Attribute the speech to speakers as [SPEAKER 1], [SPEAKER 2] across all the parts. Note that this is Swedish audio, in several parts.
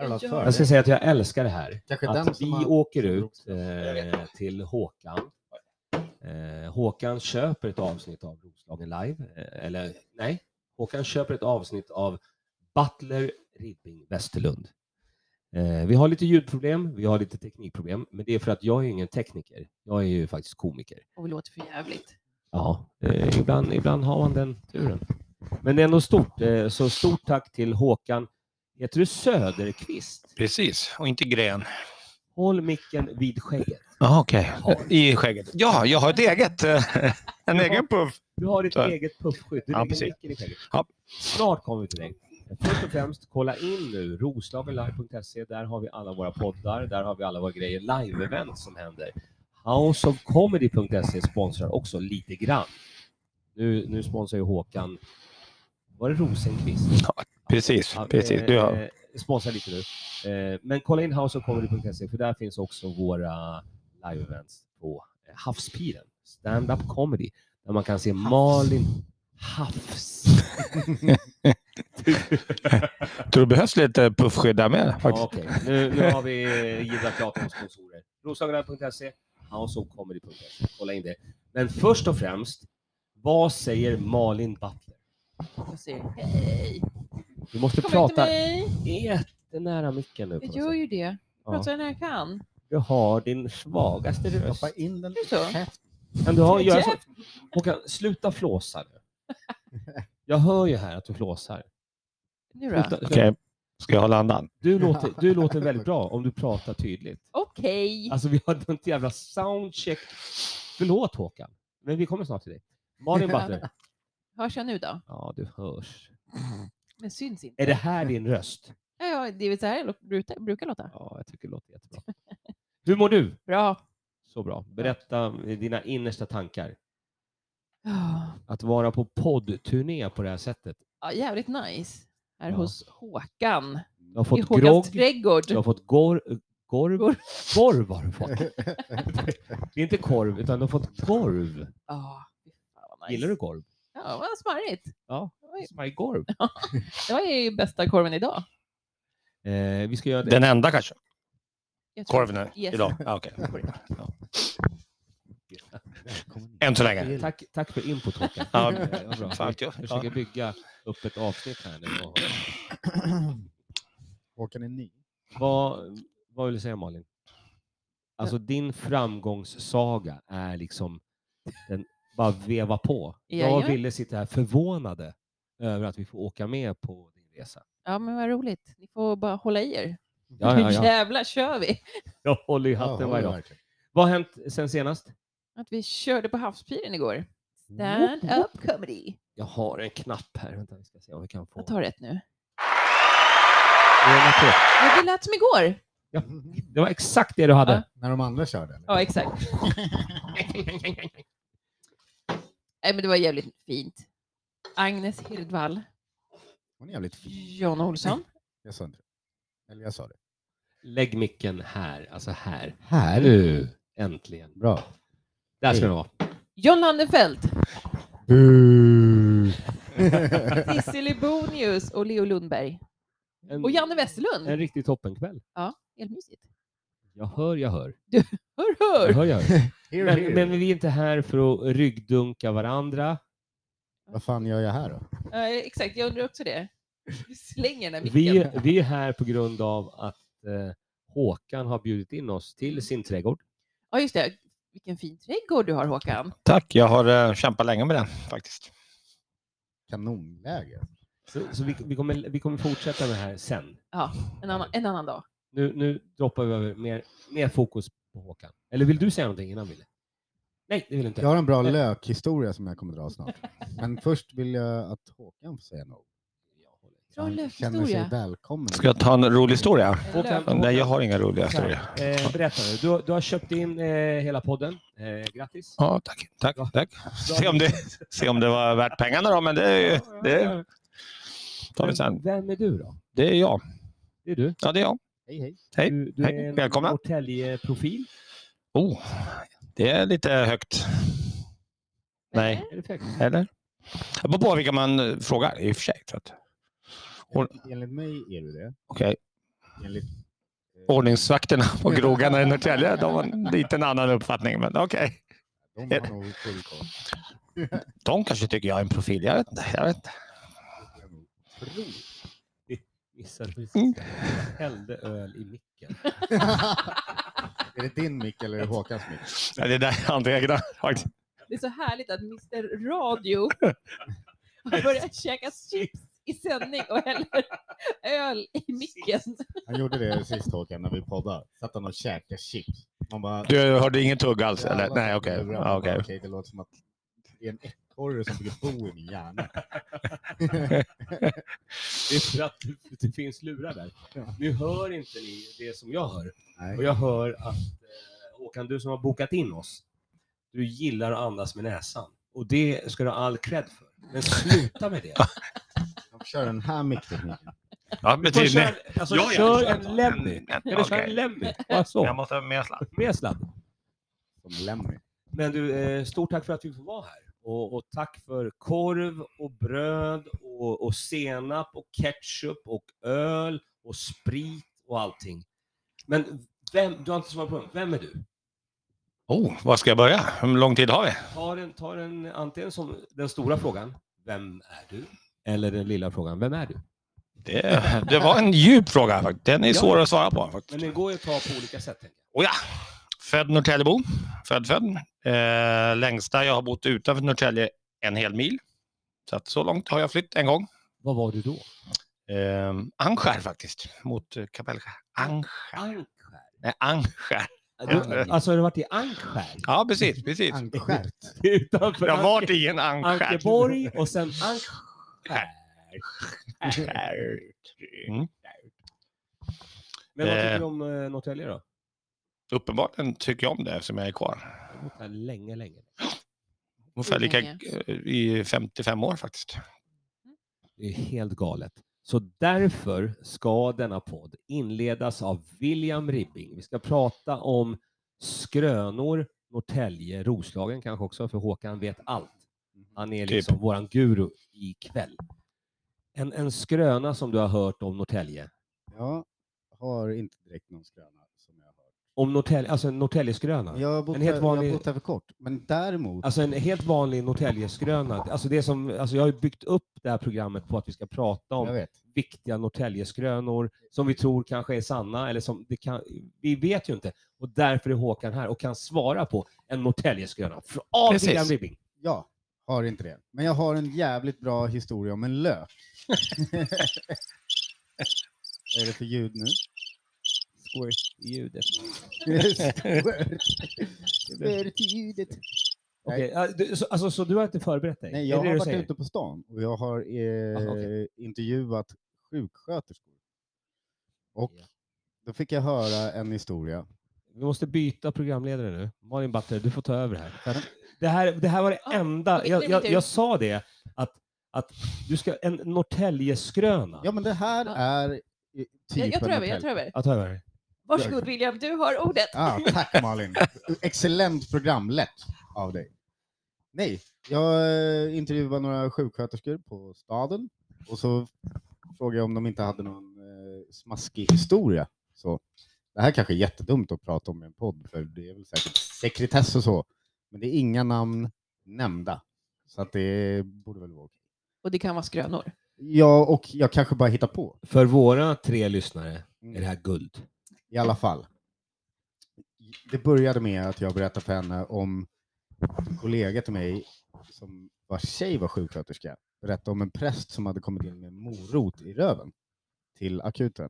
[SPEAKER 1] Jävla
[SPEAKER 2] jag
[SPEAKER 1] för.
[SPEAKER 2] göra?
[SPEAKER 3] Jag ska säga att jag älskar det här.
[SPEAKER 1] Kanske den
[SPEAKER 3] Att
[SPEAKER 1] som
[SPEAKER 3] vi
[SPEAKER 1] har-
[SPEAKER 3] åker ut
[SPEAKER 1] Jag
[SPEAKER 3] eh, till Håkan. Eh, Håkan köper ett avsnitt av Roslagen Live. Eh, eller nej, Håkan köper ett avsnitt av Butler Ribbing Westerlund. Eh, vi har lite ljudproblem, vi har lite teknikproblem, men det är för att jag är ingen tekniker. Jag är ju faktiskt komiker.
[SPEAKER 2] Och vi låter för jävligt.
[SPEAKER 3] Ja, eh, ibland, ibland har man den turen. Men ändå stort, eh, så stort tack till Håkan. Heter du Söderqvist?
[SPEAKER 4] Precis, och inte gren.
[SPEAKER 3] Håll micken vid skägget.
[SPEAKER 4] Ja, okej. I skägget. Ja, jag har ett eget. eh, En egen puff.
[SPEAKER 3] Du har ditt
[SPEAKER 4] Så här.
[SPEAKER 3] eget puffskydd. Du
[SPEAKER 4] Ja,
[SPEAKER 3] lägger
[SPEAKER 4] precis.
[SPEAKER 3] micken i skägget.
[SPEAKER 4] Ja.
[SPEAKER 3] Snart kommer vi till dig. Först och främst, kolla in nu roslagenlive.se. Där har vi alla våra poddar, där har vi alla våra grejer. Live-event som händer. Houseofcomedy.se sponsrar också lite grann. Nu, nu sponsrar ju Håkan, var det Rosenqvist?
[SPEAKER 4] Precis,
[SPEAKER 3] Ja,
[SPEAKER 4] precis. Du har...
[SPEAKER 3] eh, sponsra lite nu. Eh, men kolla in houseofcomedy.se för där finns också våra live-events på eh, Havspiren. Stand-up comedy. Där man kan se Malin Havs.
[SPEAKER 4] Tror du behövs lite puffskydd där med?
[SPEAKER 3] Ja,
[SPEAKER 4] Faktiskt.
[SPEAKER 3] okej. nu, nu har vi eh, givit klart om sponsorer. Roslagenlive.se, houseofcomedy.se. Kolla in det. Men först och främst, vad säger Malin Butler?
[SPEAKER 2] Jag säger hej.
[SPEAKER 3] Du måste
[SPEAKER 2] Kom inte
[SPEAKER 3] prata
[SPEAKER 2] mig.
[SPEAKER 3] jättenära micken nu. på
[SPEAKER 2] Jag
[SPEAKER 3] något
[SPEAKER 2] gör
[SPEAKER 3] sätt.
[SPEAKER 2] ju det.
[SPEAKER 3] Ja.
[SPEAKER 2] Pratar när jag kan.
[SPEAKER 3] Du har din svagaste röst.
[SPEAKER 1] Stoppa in den
[SPEAKER 2] Är det så?
[SPEAKER 3] Kan du ha, göra så?
[SPEAKER 2] Jeff,
[SPEAKER 3] Håkan, sluta flåsa nu. Jag hör ju här att du flåsar.
[SPEAKER 2] Nu då?
[SPEAKER 3] Sluta-
[SPEAKER 4] Okej, ska jag hålla andan?
[SPEAKER 3] Du, låter, du låter väldigt bra om du pratar tydligt.
[SPEAKER 2] Okej.
[SPEAKER 3] Alltså vi har något jävla soundcheck. Förlåt Håkan, men vi kommer snart till dig. Malin Butler.
[SPEAKER 2] Hörs jag nu då?
[SPEAKER 3] Ja, du hörs.
[SPEAKER 2] Men syns inte.
[SPEAKER 3] Är det här din röst?
[SPEAKER 2] Ja, ja, det är väl så här jag lå- brukar, brukar låta.
[SPEAKER 3] Ja, jag tycker det låter jättebra. Hur mår du?
[SPEAKER 2] Bra.
[SPEAKER 3] Så bra. Berätta dina innersta tankar.
[SPEAKER 2] Ah,
[SPEAKER 3] Att vara på poddturné på det här sättet.
[SPEAKER 2] Ja, jävligt nice. Här
[SPEAKER 3] Ja.
[SPEAKER 2] hos Håkan.
[SPEAKER 3] Du har
[SPEAKER 2] I
[SPEAKER 3] fått
[SPEAKER 2] Håkans
[SPEAKER 3] grogg,
[SPEAKER 2] trädgård.
[SPEAKER 3] du har fått gor, gorv,
[SPEAKER 2] Gor-
[SPEAKER 3] gorv har du fått. Det är inte korv, utan du har fått gorv.
[SPEAKER 2] Ja, fy fan vad nice.
[SPEAKER 3] Gillar du korv?
[SPEAKER 2] Ja, vad smarrigt.
[SPEAKER 3] Ja,
[SPEAKER 2] Oj.
[SPEAKER 3] smajkorv.
[SPEAKER 2] Det var ju bästa korven idag.
[SPEAKER 3] Eh, vi ska göra det.
[SPEAKER 4] Den enda kanske?
[SPEAKER 2] Jag tror-
[SPEAKER 4] Korven nu,
[SPEAKER 2] Yes.
[SPEAKER 4] idag? Ja, okej. Ja. Än så länge.
[SPEAKER 3] Tack, tack för input Håkan.
[SPEAKER 4] Ja,
[SPEAKER 3] Eh, vad bra.
[SPEAKER 4] fan,
[SPEAKER 3] Jag
[SPEAKER 4] ja.
[SPEAKER 3] försöker bygga upp ett avsnitt här nu. Och,
[SPEAKER 1] Håkan är ny.
[SPEAKER 3] vad, vad vill du säga Malin? Alltså din framgångssaga är liksom, den bara veva på. Jag
[SPEAKER 2] Jajamän.
[SPEAKER 3] ville sitta här förvånade över att vi får åka med på din resa.
[SPEAKER 2] Ja, men vad roligt. Ni får bara hålla i er.
[SPEAKER 3] Ja, ja,
[SPEAKER 2] Nu
[SPEAKER 3] ja.
[SPEAKER 2] jävlar kör vi!
[SPEAKER 3] Jag håller i
[SPEAKER 1] Ja,
[SPEAKER 3] hatten varje dag.
[SPEAKER 1] verkligen.
[SPEAKER 3] Vad har hänt sen senast?
[SPEAKER 2] Att vi körde på havspiren igår. Stand up comedy.
[SPEAKER 3] Jag har en knapp här. Vänta, vi ska se om vi kan få...
[SPEAKER 2] Jag tar rätt nu.
[SPEAKER 3] Ordna på.
[SPEAKER 2] Men det lät som igår.
[SPEAKER 3] Det var exakt det du hade.
[SPEAKER 1] När de andra körde? Eller?
[SPEAKER 2] Ja, exakt. Nej, men det var jävligt fint. Agnes Hirdvall,
[SPEAKER 1] Hon är jävligt fin.
[SPEAKER 2] John Olsson.
[SPEAKER 1] Jag sa inte det. Eller jag sa det.
[SPEAKER 3] Lägg micken här, alltså här.
[SPEAKER 1] Här.
[SPEAKER 3] Nu, äntligen.
[SPEAKER 1] Bra.
[SPEAKER 3] Där ska den vara.
[SPEAKER 2] John Landenfelt,
[SPEAKER 1] Bu.
[SPEAKER 2] Cicely Bonius och Leo Lundberg.
[SPEAKER 3] En,
[SPEAKER 2] Och Janne
[SPEAKER 3] en
[SPEAKER 2] Westerlund.
[SPEAKER 3] riktig toppenkväll.
[SPEAKER 2] Helt mysigt.
[SPEAKER 3] Jag hör, jag hör.
[SPEAKER 2] Hör,
[SPEAKER 3] Jag
[SPEAKER 2] hör!
[SPEAKER 3] hör, jag hör.
[SPEAKER 1] Here,
[SPEAKER 3] Men,
[SPEAKER 1] here.
[SPEAKER 3] men vi är inte här för att ryggdunka varandra.
[SPEAKER 1] Vad fan gör jag här då?
[SPEAKER 2] Ja, exakt, jag undrar också det. Du slänger den här
[SPEAKER 3] Vi,
[SPEAKER 2] micken.
[SPEAKER 3] är- vi är här på grund av att eh, Håkan har bjudit in oss till sin trädgård.
[SPEAKER 2] Ja, just det. Vilken fin trädgård du har, Håkan.
[SPEAKER 4] Tack, jag har eh, kämpat länge med den faktiskt.
[SPEAKER 1] Kanonläge.
[SPEAKER 3] Så, så vi, vi, kommer, vi kommer fortsätta med det här sen.
[SPEAKER 2] En annan, en annan dag.
[SPEAKER 3] Nu, nu droppar vi över mer, mer fokus på Håkan. Eller vill du säga någonting innan, Wille? Nej, det vill du inte.
[SPEAKER 1] Jag har en bra lökhistoria som jag kommer dra snart. Men först vill jag att Håkan får säga något.
[SPEAKER 2] Bra
[SPEAKER 1] Han känner sig
[SPEAKER 2] lökhistoria.
[SPEAKER 1] välkommen.
[SPEAKER 4] Ska jag ta en rolig historia?
[SPEAKER 2] En
[SPEAKER 3] Håkan,
[SPEAKER 2] lök.
[SPEAKER 4] Nej, jag har inga roliga historier.
[SPEAKER 3] Eh, berätta nu. Du, du har köpt in eh, hela podden. Eh, grattis.
[SPEAKER 4] Ja, tack, tack,
[SPEAKER 3] Ja.
[SPEAKER 4] tack. Se om det, se om det var värt pengarna då, men det, är ju- det tar vi
[SPEAKER 3] Vem,
[SPEAKER 4] sen.
[SPEAKER 3] vem är du då?
[SPEAKER 4] Det är jag.
[SPEAKER 3] Det är du.
[SPEAKER 4] Ja, det är jag.
[SPEAKER 1] Hej, hej.
[SPEAKER 4] Hej,
[SPEAKER 3] du, du
[SPEAKER 4] hej,
[SPEAKER 3] är en
[SPEAKER 4] välkomna.
[SPEAKER 3] Norrtälje-profil.
[SPEAKER 4] Oh, det är lite högt. Nej,
[SPEAKER 3] Är det perfekt?
[SPEAKER 4] eller? Det beror på vilka man eh, frågar i och för sig. så att- Och-
[SPEAKER 1] Enligt mig är du det.
[SPEAKER 4] Okej.
[SPEAKER 1] enligt eh,
[SPEAKER 4] ordningsvakterna på krogarna i Norrtälje, de har lite en annan uppfattning. Men okej.
[SPEAKER 1] De har nog full koll.
[SPEAKER 4] De kanske tycker jag är en profil, jag vet inte. Jag vet inte.
[SPEAKER 3] Missade precis.
[SPEAKER 4] Mm.
[SPEAKER 3] Jag hällde öl i micken.
[SPEAKER 1] Är det din mick eller är det Håkans mick?
[SPEAKER 4] Ja, Det där är hans egna. faktiskt.
[SPEAKER 2] Det är så härligt att Mr Radio har börjat käka chips i sändning och häller öl i micken.
[SPEAKER 1] Han gjorde det sist Håkan när vi poddade. Satt han och käkade chips. Man bara,
[SPEAKER 4] Du hörde ingen tugg alls? Alltså, Eller? Nej, okej. Ja,
[SPEAKER 1] okej.
[SPEAKER 4] okej.
[SPEAKER 1] det låter som att det är en ekorre som försöker bo i min hjärna.
[SPEAKER 3] Det är för att det- det finns lurar där. Nu hör inte ni det som jag hör. Och
[SPEAKER 1] Nej.
[SPEAKER 3] jag hör att eh, Håkan, du som har bokat in oss, du gillar att andas med näsan. Och det ska du ha all cred för. Men sluta med det.
[SPEAKER 1] De kör den här micktekniken.
[SPEAKER 4] Ja,
[SPEAKER 3] Du får
[SPEAKER 4] betyder
[SPEAKER 3] köra,
[SPEAKER 4] det.
[SPEAKER 3] alltså,
[SPEAKER 4] Ja, ja,
[SPEAKER 3] kör
[SPEAKER 4] ja,
[SPEAKER 3] en Lemmy. Eller kör en
[SPEAKER 4] okej.
[SPEAKER 3] Lemmy. Bara
[SPEAKER 4] Jag
[SPEAKER 3] så.
[SPEAKER 4] måste ha mer sladd.
[SPEAKER 3] Med sladd.
[SPEAKER 1] Som Lemmy.
[SPEAKER 3] Men du, eh, stort tack för att vi får vara här. Och, och tack för korv och bröd och, och senap och ketchup och öl och sprit och allting. Men vem, du har inte svarat på den. Vem är du?
[SPEAKER 4] Oh, var ska jag börja? Hur lång tid har vi?
[SPEAKER 3] Ta, den, ta den, antingen som den stora frågan, vem är du? Eller den lilla frågan, vem är du?
[SPEAKER 4] Det, det var en djup fråga. faktiskt. Den är
[SPEAKER 3] Ja.
[SPEAKER 4] svår att svara på.
[SPEAKER 3] Men
[SPEAKER 4] Faktiskt.
[SPEAKER 3] den går ju att ta på olika sätt. tänker
[SPEAKER 4] Oh ja. Född Norrtäljebo. Född, född. Eh, längsta jag har bott utanför Norrtälje en hel mil. Så att så långt har jag flytt en gång.
[SPEAKER 3] jag. Vad var du då?
[SPEAKER 4] Eh, Angskär faktiskt, mot eh, Kapellskär. Angskär.
[SPEAKER 3] Ankskär.
[SPEAKER 4] Nej, Angskär.
[SPEAKER 3] Du, alltså har du varit i Ankskär?
[SPEAKER 4] Ja, precis. precis.
[SPEAKER 1] Ankskärt.
[SPEAKER 3] Utanför
[SPEAKER 4] Jag har
[SPEAKER 3] Anke-
[SPEAKER 4] varit i en Angskär.
[SPEAKER 3] Ankeborg och sen Ankskär.
[SPEAKER 4] Mm.
[SPEAKER 3] Men vad tycker
[SPEAKER 4] Eh.
[SPEAKER 3] du om eh, Norrtälje då?
[SPEAKER 4] Uppenbarligen tycker jag om det eftersom jag är kvar.
[SPEAKER 3] Jag har bott här länge, länge.
[SPEAKER 4] Ungefär lika
[SPEAKER 2] länge?
[SPEAKER 4] eh, i 55 år faktiskt.
[SPEAKER 3] Det är helt galet. Så därför ska denna podd inledas av William Ribbing. Vi ska prata om skrönor, Norrtälje, Roslagen kanske också, för Håkan vet allt. Han är
[SPEAKER 4] Typ.
[SPEAKER 3] liksom våran guru ikväll. En, en skröna som du har hört om Norrtälje.
[SPEAKER 1] Jag har inte direkt någon skröna som jag har hört.
[SPEAKER 3] Om Norrtälje, alltså en Norrtäljeskröna.
[SPEAKER 1] Jag har bott,
[SPEAKER 3] En helt
[SPEAKER 1] här, jag har
[SPEAKER 3] vanlig-
[SPEAKER 1] bott här för kort. Men däremot,
[SPEAKER 3] Alltså en helt vanlig Norrtäljeskröna. Alltså det som, alltså jag har ju byggt upp det här programmet på att vi ska prata om
[SPEAKER 1] jag vet.
[SPEAKER 3] viktiga Norrtäljeskrönor som vi tror kanske är sanna. Eller som det kan, vi vet ju inte. Och därför är Håkan här och kan svara på en Norrtäljeskröna. Fr- Av
[SPEAKER 4] Precis.
[SPEAKER 3] William Ribbing.
[SPEAKER 1] Jag har inte det. Men jag har en jävligt bra historia om en lök. Vad är det för ljud nu?
[SPEAKER 3] Ljudet.
[SPEAKER 1] Squirt-ljudet.
[SPEAKER 3] Okej, ja, du- så- Alltså, så du har inte förberett dig?
[SPEAKER 1] Nej,
[SPEAKER 3] Är
[SPEAKER 1] jag
[SPEAKER 3] det det
[SPEAKER 1] har
[SPEAKER 3] du
[SPEAKER 1] varit
[SPEAKER 3] säger?
[SPEAKER 1] ute på stan och jag har eh,
[SPEAKER 3] Aha,
[SPEAKER 1] intervjuat sjuksköterskor. Och
[SPEAKER 3] Ja.
[SPEAKER 1] då fick jag höra en historia.
[SPEAKER 3] Vi måste byta programledare nu. Malin Batter, du får ta över här. För att
[SPEAKER 1] Mm.
[SPEAKER 3] det, här det här var det
[SPEAKER 2] Ja,
[SPEAKER 3] enda.
[SPEAKER 2] min-
[SPEAKER 3] Jag,
[SPEAKER 2] min
[SPEAKER 3] jag,
[SPEAKER 2] tur.
[SPEAKER 3] jag sa det, att, att du ska... En Norrtäljeskröna.
[SPEAKER 1] Ja, men det här
[SPEAKER 2] Ja.
[SPEAKER 1] är eh, typ
[SPEAKER 2] Jag, jag tror
[SPEAKER 1] en
[SPEAKER 2] över, jag
[SPEAKER 1] hotell.
[SPEAKER 2] tror över.
[SPEAKER 3] Att ta över.
[SPEAKER 2] Varsågod William, du har ordet.
[SPEAKER 1] Ah, tack Malin. Excellent program, lätt av dig. Nej, jag eh, intervjuade några sjuksköterskor på staden och så frågade jag om de inte hade någon eh, smaskig historia. Så, det här kanske är jättedumt att prata om i en podd, för det är väl säkert sekretess och så. Men det är inga namn nämnda, så att det borde väl vara okej.
[SPEAKER 2] Och det kan vara skrönor.
[SPEAKER 1] Ja, och jag kanske bara hittar på.
[SPEAKER 3] För våra tre lyssnare är
[SPEAKER 1] Mm.
[SPEAKER 3] det här guld.
[SPEAKER 1] I alla fall. Det började med att jag berättade för henne om en kollega till mig som vars tjej var sjuksköterska. Berättade om en präst som hade kommit in med en morot i röven till akuten.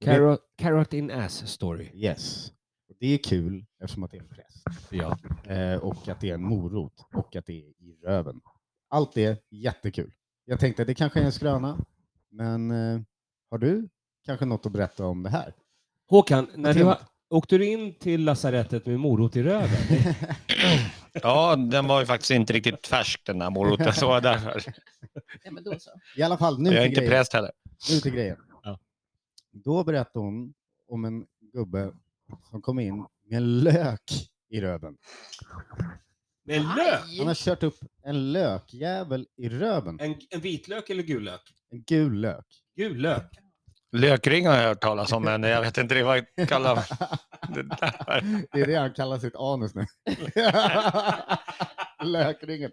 [SPEAKER 3] Carrot, carrot in ass story.
[SPEAKER 1] Yes. Och det är kul eftersom att det är en präst
[SPEAKER 3] Ja.
[SPEAKER 1] eh, och att det är en morot och att det är i röven. Allt det är jättekul. Jag tänkte det kanske är en skröna, men eh, har du kanske något att berätta om det här?
[SPEAKER 3] Håkan,
[SPEAKER 1] Vad
[SPEAKER 3] när du,
[SPEAKER 1] trevligt.
[SPEAKER 3] har- åkte du in till lasarettet med morot i röven?
[SPEAKER 4] Ja, den var ju faktiskt inte riktigt färsk den där moroten. Så var det därför.
[SPEAKER 2] Ja, men då så.
[SPEAKER 1] I alla fall nu
[SPEAKER 4] Jag är
[SPEAKER 1] till
[SPEAKER 4] inte
[SPEAKER 1] grejen.
[SPEAKER 4] präst heller.
[SPEAKER 1] Nu till grejen.
[SPEAKER 3] Ja.
[SPEAKER 1] Då berättade hon om en gubbe som kom in med en lök i röven.
[SPEAKER 3] Med lök?
[SPEAKER 2] Aj!
[SPEAKER 1] Han har kört upp en lökjävel i röven.
[SPEAKER 3] En, en vitlök eller gul lök?
[SPEAKER 1] En gul lök.
[SPEAKER 3] Gul lök.
[SPEAKER 4] Lökring har jag hört talas om, men jag vet inte vad jag kallar det där.
[SPEAKER 1] Det är det han kallar sitt anus nu. Lökringen.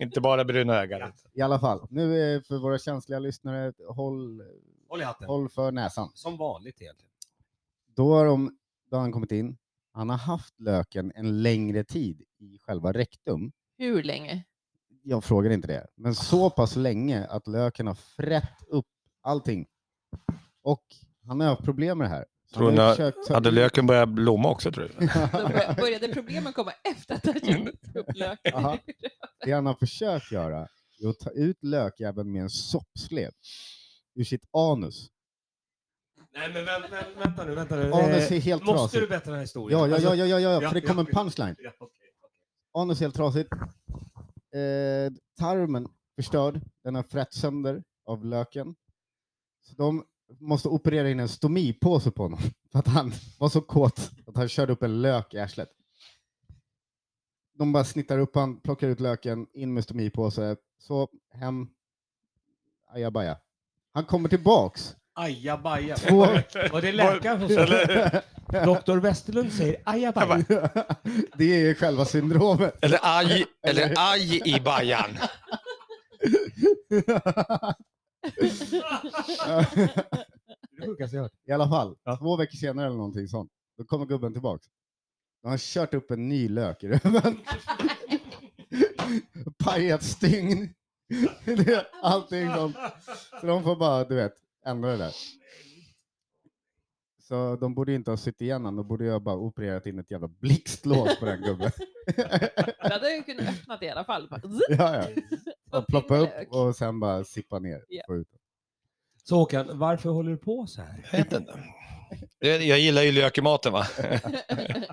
[SPEAKER 4] Inte bara bruna ögat.
[SPEAKER 1] I alla fall, nu är för våra känsliga lyssnare, håll,
[SPEAKER 3] Håll i hatten.
[SPEAKER 1] håll för näsan.
[SPEAKER 3] Som vanligt egentligen.
[SPEAKER 1] Då har, de, då har han kommit in. Han har haft löken en längre tid i själva rektum.
[SPEAKER 2] Hur länge?
[SPEAKER 1] Jag frågar inte det, men så pass länge att löken har frätt upp allting. Och han har haft problem med det här.
[SPEAKER 4] Tror
[SPEAKER 1] han har ju
[SPEAKER 4] ni-
[SPEAKER 1] försökt ta-
[SPEAKER 4] Hade löken börjat blomma också tror du?
[SPEAKER 2] Då bör- började problemen komma efter att han gett upp löken.
[SPEAKER 1] Aha. Det han har försökt göra är att ta ut lökjäveln med en soppslev ur sitt anus.
[SPEAKER 3] Nej men vänta, vänta nu, vänta nu.
[SPEAKER 1] Anus är helt
[SPEAKER 3] Måste du
[SPEAKER 1] trasigt.
[SPEAKER 3] berätta den här historien? Alltså,
[SPEAKER 1] Ja, ja, ja, ja, ja, ja,
[SPEAKER 3] ja,
[SPEAKER 1] för det
[SPEAKER 3] ja.
[SPEAKER 1] kom en punchline.
[SPEAKER 3] Ja, okej.
[SPEAKER 1] Anus är helt trasigt. Eh, tarmen förstörd. Den har frätt sönder av löken. Så de måste operera in en stomipåse på honom för att han var så kåt att han körde upp en lök i arslet. De bara snittar upp han, plockar ut löken, in med stomipåse, så hem. Ajabaja. Han kommer tillbaks.
[SPEAKER 3] Ajabaja.
[SPEAKER 1] Två...
[SPEAKER 3] Var det läkaren som sa det? Doktor Westerlund säger ajabaja.
[SPEAKER 1] det är själva syndromet.
[SPEAKER 4] Eller aj, eller aj i bajan.
[SPEAKER 3] Det sjukaste jag hört.
[SPEAKER 1] I alla fall,
[SPEAKER 3] Ja.
[SPEAKER 1] två veckor senare eller någonting sånt, då kommer gubben tillbaks. Då har han kört upp en ny lök i röven. Pajat stygn. Det är Allting sånt. Så de får bara, du vet, ändra det där. Så de borde ju inte ha suttit igen honom, de borde ju ha bara opererat in ett jävla blixtlås på den gubben.
[SPEAKER 2] Då hade jag kunnat öppna det i alla fall. Bara, zzz,
[SPEAKER 1] ja, ja.
[SPEAKER 2] och
[SPEAKER 1] Och ploppa
[SPEAKER 2] in
[SPEAKER 1] upp
[SPEAKER 2] lök.
[SPEAKER 1] och sen bara sippa ner.
[SPEAKER 2] Ja.
[SPEAKER 1] Få ut.
[SPEAKER 3] Så Håkan, varför håller du på så här?
[SPEAKER 4] Jag vet inte. Jag jag gillar ju lök i maten va?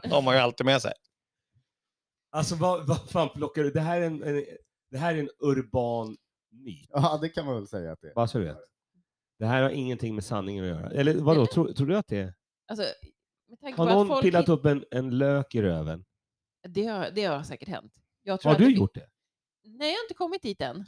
[SPEAKER 4] De har man ju alltid med sig.
[SPEAKER 3] Alltså vad, vad fan plockar du? Det här är en, en, det här är en urban myt.
[SPEAKER 1] Ja, det kan man väl säga att det är.
[SPEAKER 3] Bara så du vet. Det här har ingenting med sanningen att göra. Eller vadå, tror, tror du att det är?
[SPEAKER 2] Alltså, med tanke
[SPEAKER 3] Har
[SPEAKER 2] på att
[SPEAKER 3] någon
[SPEAKER 2] folk...
[SPEAKER 3] pillat upp en, en lök i röven?
[SPEAKER 2] Det har, det har säkert hänt. Jag tror
[SPEAKER 3] Har
[SPEAKER 2] att det-
[SPEAKER 3] du gjort det?
[SPEAKER 2] Nej, jag har inte kommit dit än.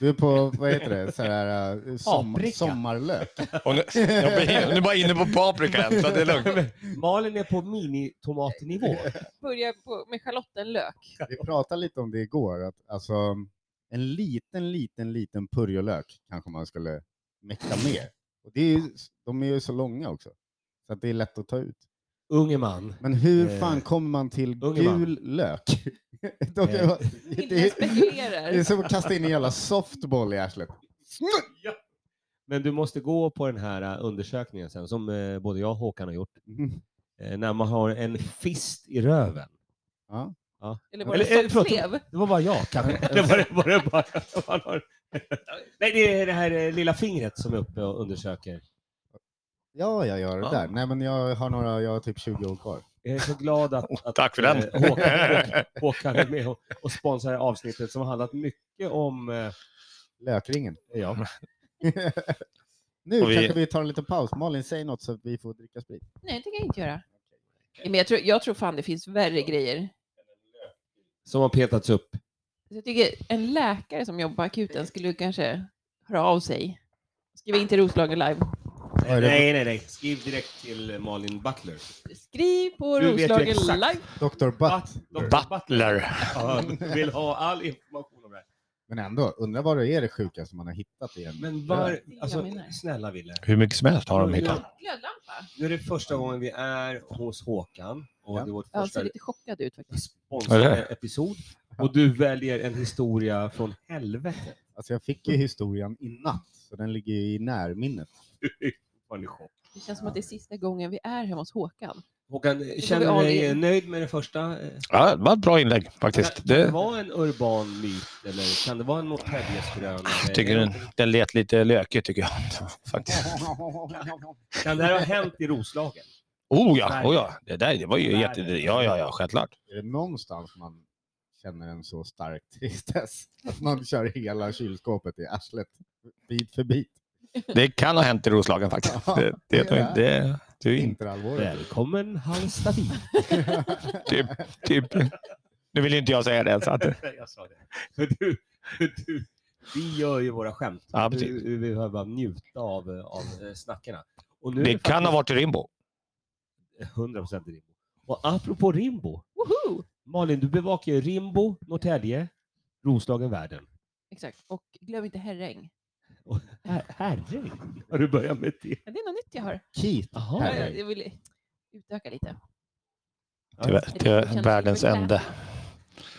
[SPEAKER 1] Du är på, vad heter det, så här, eh, som,
[SPEAKER 3] Paprika.
[SPEAKER 1] sommarlök.
[SPEAKER 4] Och nu, jag blir, nu är bara inne på paprika än, så det är lugnt.
[SPEAKER 3] Malin är på minitomatnivå.
[SPEAKER 2] Börja på, med schalottenlök.
[SPEAKER 1] Vi pratade lite om det igår, att alltså, en liten, liten, liten purjolök kanske man skulle mäkta med. Och det är ju, de är ju så långa också, så att det är lätt att ta ut.
[SPEAKER 3] Unge man.
[SPEAKER 1] Men hur
[SPEAKER 3] Eh,
[SPEAKER 1] fan kommer man till
[SPEAKER 3] unge
[SPEAKER 1] gul
[SPEAKER 3] man.
[SPEAKER 1] lök? De kan ju
[SPEAKER 3] Eh.
[SPEAKER 1] vara-
[SPEAKER 2] Inte
[SPEAKER 1] det,
[SPEAKER 2] ens
[SPEAKER 1] är, det är
[SPEAKER 2] spekulerar.
[SPEAKER 1] som att kasta in en jävla softball i arslet.
[SPEAKER 3] Men du måste gå på den här eh, undersökningen sen, som eh, både jag och Håkan har gjort.
[SPEAKER 1] Mm.
[SPEAKER 3] Eh, När man har en fist i röven.
[SPEAKER 1] Ja.
[SPEAKER 2] Eller eh, bara
[SPEAKER 3] Eller- eller, förlåt.
[SPEAKER 2] soppslev.
[SPEAKER 3] Det var bara jag kanske.
[SPEAKER 1] Alltså,
[SPEAKER 3] Eller var det, var det bara, man har... Nej, det är det här eh, lilla fingret som är uppe och undersöker.
[SPEAKER 1] ja, jag gör det
[SPEAKER 4] Ja.
[SPEAKER 1] där. Nej, men jag har några, jag har typ 20 år kvar.
[SPEAKER 3] Jag är så glad att, att
[SPEAKER 4] Tack för
[SPEAKER 3] eh,
[SPEAKER 4] den.
[SPEAKER 3] Håkan, Håkan, Håkan är med och, och sponsrar det här avsnittet som har handlat mycket om... eh,
[SPEAKER 1] Lökringen.
[SPEAKER 3] Ja.
[SPEAKER 1] Nu
[SPEAKER 4] Och vi-
[SPEAKER 1] kanske vi tar en liten paus. Malin, säg något så att vi får dricka sprit.
[SPEAKER 2] Nej, det tänker jag inte göra. Men jag tror, jag tror fan det finns värre grejer.
[SPEAKER 3] Som har petats upp.
[SPEAKER 2] Så jag tycker en läkare som jobbar på akuten skulle kanske höra av sig. Skriv in till Roslagen Live.
[SPEAKER 1] är det?
[SPEAKER 3] Nej, nej, nej. Skriv direkt till eh, Malin Butler.
[SPEAKER 2] Skriv på
[SPEAKER 3] Du vet ju
[SPEAKER 2] Roslagen
[SPEAKER 3] exakt.
[SPEAKER 2] Live.
[SPEAKER 1] Dr. Butt.
[SPEAKER 4] Butler.
[SPEAKER 3] Ja, vill ha all information om det här.
[SPEAKER 1] Men ändå, undrar vad det är det sjukaste man har hittat igen.
[SPEAKER 3] Men
[SPEAKER 2] Ja,
[SPEAKER 3] var,
[SPEAKER 2] det är jag
[SPEAKER 3] alltså,
[SPEAKER 2] menar.
[SPEAKER 3] snälla Wille.
[SPEAKER 4] Hur mycket som helst har de
[SPEAKER 3] Nu-
[SPEAKER 4] hittat.
[SPEAKER 2] Glödlampa.
[SPEAKER 3] Nu är det första gången vi är hos Håkan och
[SPEAKER 1] Ja.
[SPEAKER 3] det är vårt
[SPEAKER 2] Jag
[SPEAKER 3] första
[SPEAKER 2] ser lite chockad ut faktiskt.
[SPEAKER 4] Eller
[SPEAKER 3] sponsrade
[SPEAKER 4] hur?
[SPEAKER 3] episod. Och du väljer en historia från helvetet.
[SPEAKER 1] Alltså jag fick ju historien i natt, så den ligger ju i närminnet.
[SPEAKER 3] Vad ni chock.
[SPEAKER 2] Det känns som att det är sista gången vi är hemma hos Håkan.
[SPEAKER 3] Håkan,
[SPEAKER 2] vi
[SPEAKER 3] känner
[SPEAKER 2] all
[SPEAKER 3] du dig
[SPEAKER 2] in.
[SPEAKER 3] nöjd med det första? Eh,
[SPEAKER 4] Ja, det var ett bra inlägg
[SPEAKER 3] Kan
[SPEAKER 4] faktiskt.
[SPEAKER 3] det
[SPEAKER 4] Det,
[SPEAKER 3] vara en urban myt eller kan det vara en Norrtäljeskröna?
[SPEAKER 4] tycker den, den lät lite lökig tycker jag. Faktiskt.
[SPEAKER 3] Kan det här ha hänt i Roslagen?
[SPEAKER 4] Oh ja, oh ja. Det där det var ju jätte... Ja, ja, ja, självklart.
[SPEAKER 1] är det någonstans man känner en så stark tristess? Att man kör hela kylskåpet i arslet, bit för bit.
[SPEAKER 4] Det kan ha hänt i Roslagen faktiskt. Det, det, är nog inte- det, det är inte...
[SPEAKER 1] Vinterhalvåret.
[SPEAKER 3] Välkommen Hallstavik.
[SPEAKER 4] Typ, typ. Nu vill ju inte jag säga det. Så att,
[SPEAKER 3] Jag sa det. För du, du, Vi gör ju våra skämt.
[SPEAKER 4] Ja,
[SPEAKER 3] vi,
[SPEAKER 4] precis.
[SPEAKER 3] vi behöver bara njuta av, eh, av eh, snackarna. Och nu är
[SPEAKER 4] Det kan ha
[SPEAKER 3] faktiskt
[SPEAKER 4] varit Rimbo.
[SPEAKER 3] 100% Rimbo. Och apropå Rimbo.
[SPEAKER 2] Woho!
[SPEAKER 3] Malin, du bevakar ju Rimbo, Norrtälje, Roslagen, världen.
[SPEAKER 2] Exakt. Och glöm inte herräng.
[SPEAKER 3] Och her- Herregud, har du börjat med det?
[SPEAKER 2] Ja, det är något nytt jag har.
[SPEAKER 1] Keith.
[SPEAKER 3] Jaha.
[SPEAKER 2] Ja,
[SPEAKER 1] Herräng.
[SPEAKER 2] Jag, jag vill utöka lite.
[SPEAKER 4] Till,
[SPEAKER 2] Det
[SPEAKER 4] till
[SPEAKER 2] känns
[SPEAKER 4] världens
[SPEAKER 2] superkräm.
[SPEAKER 4] ände.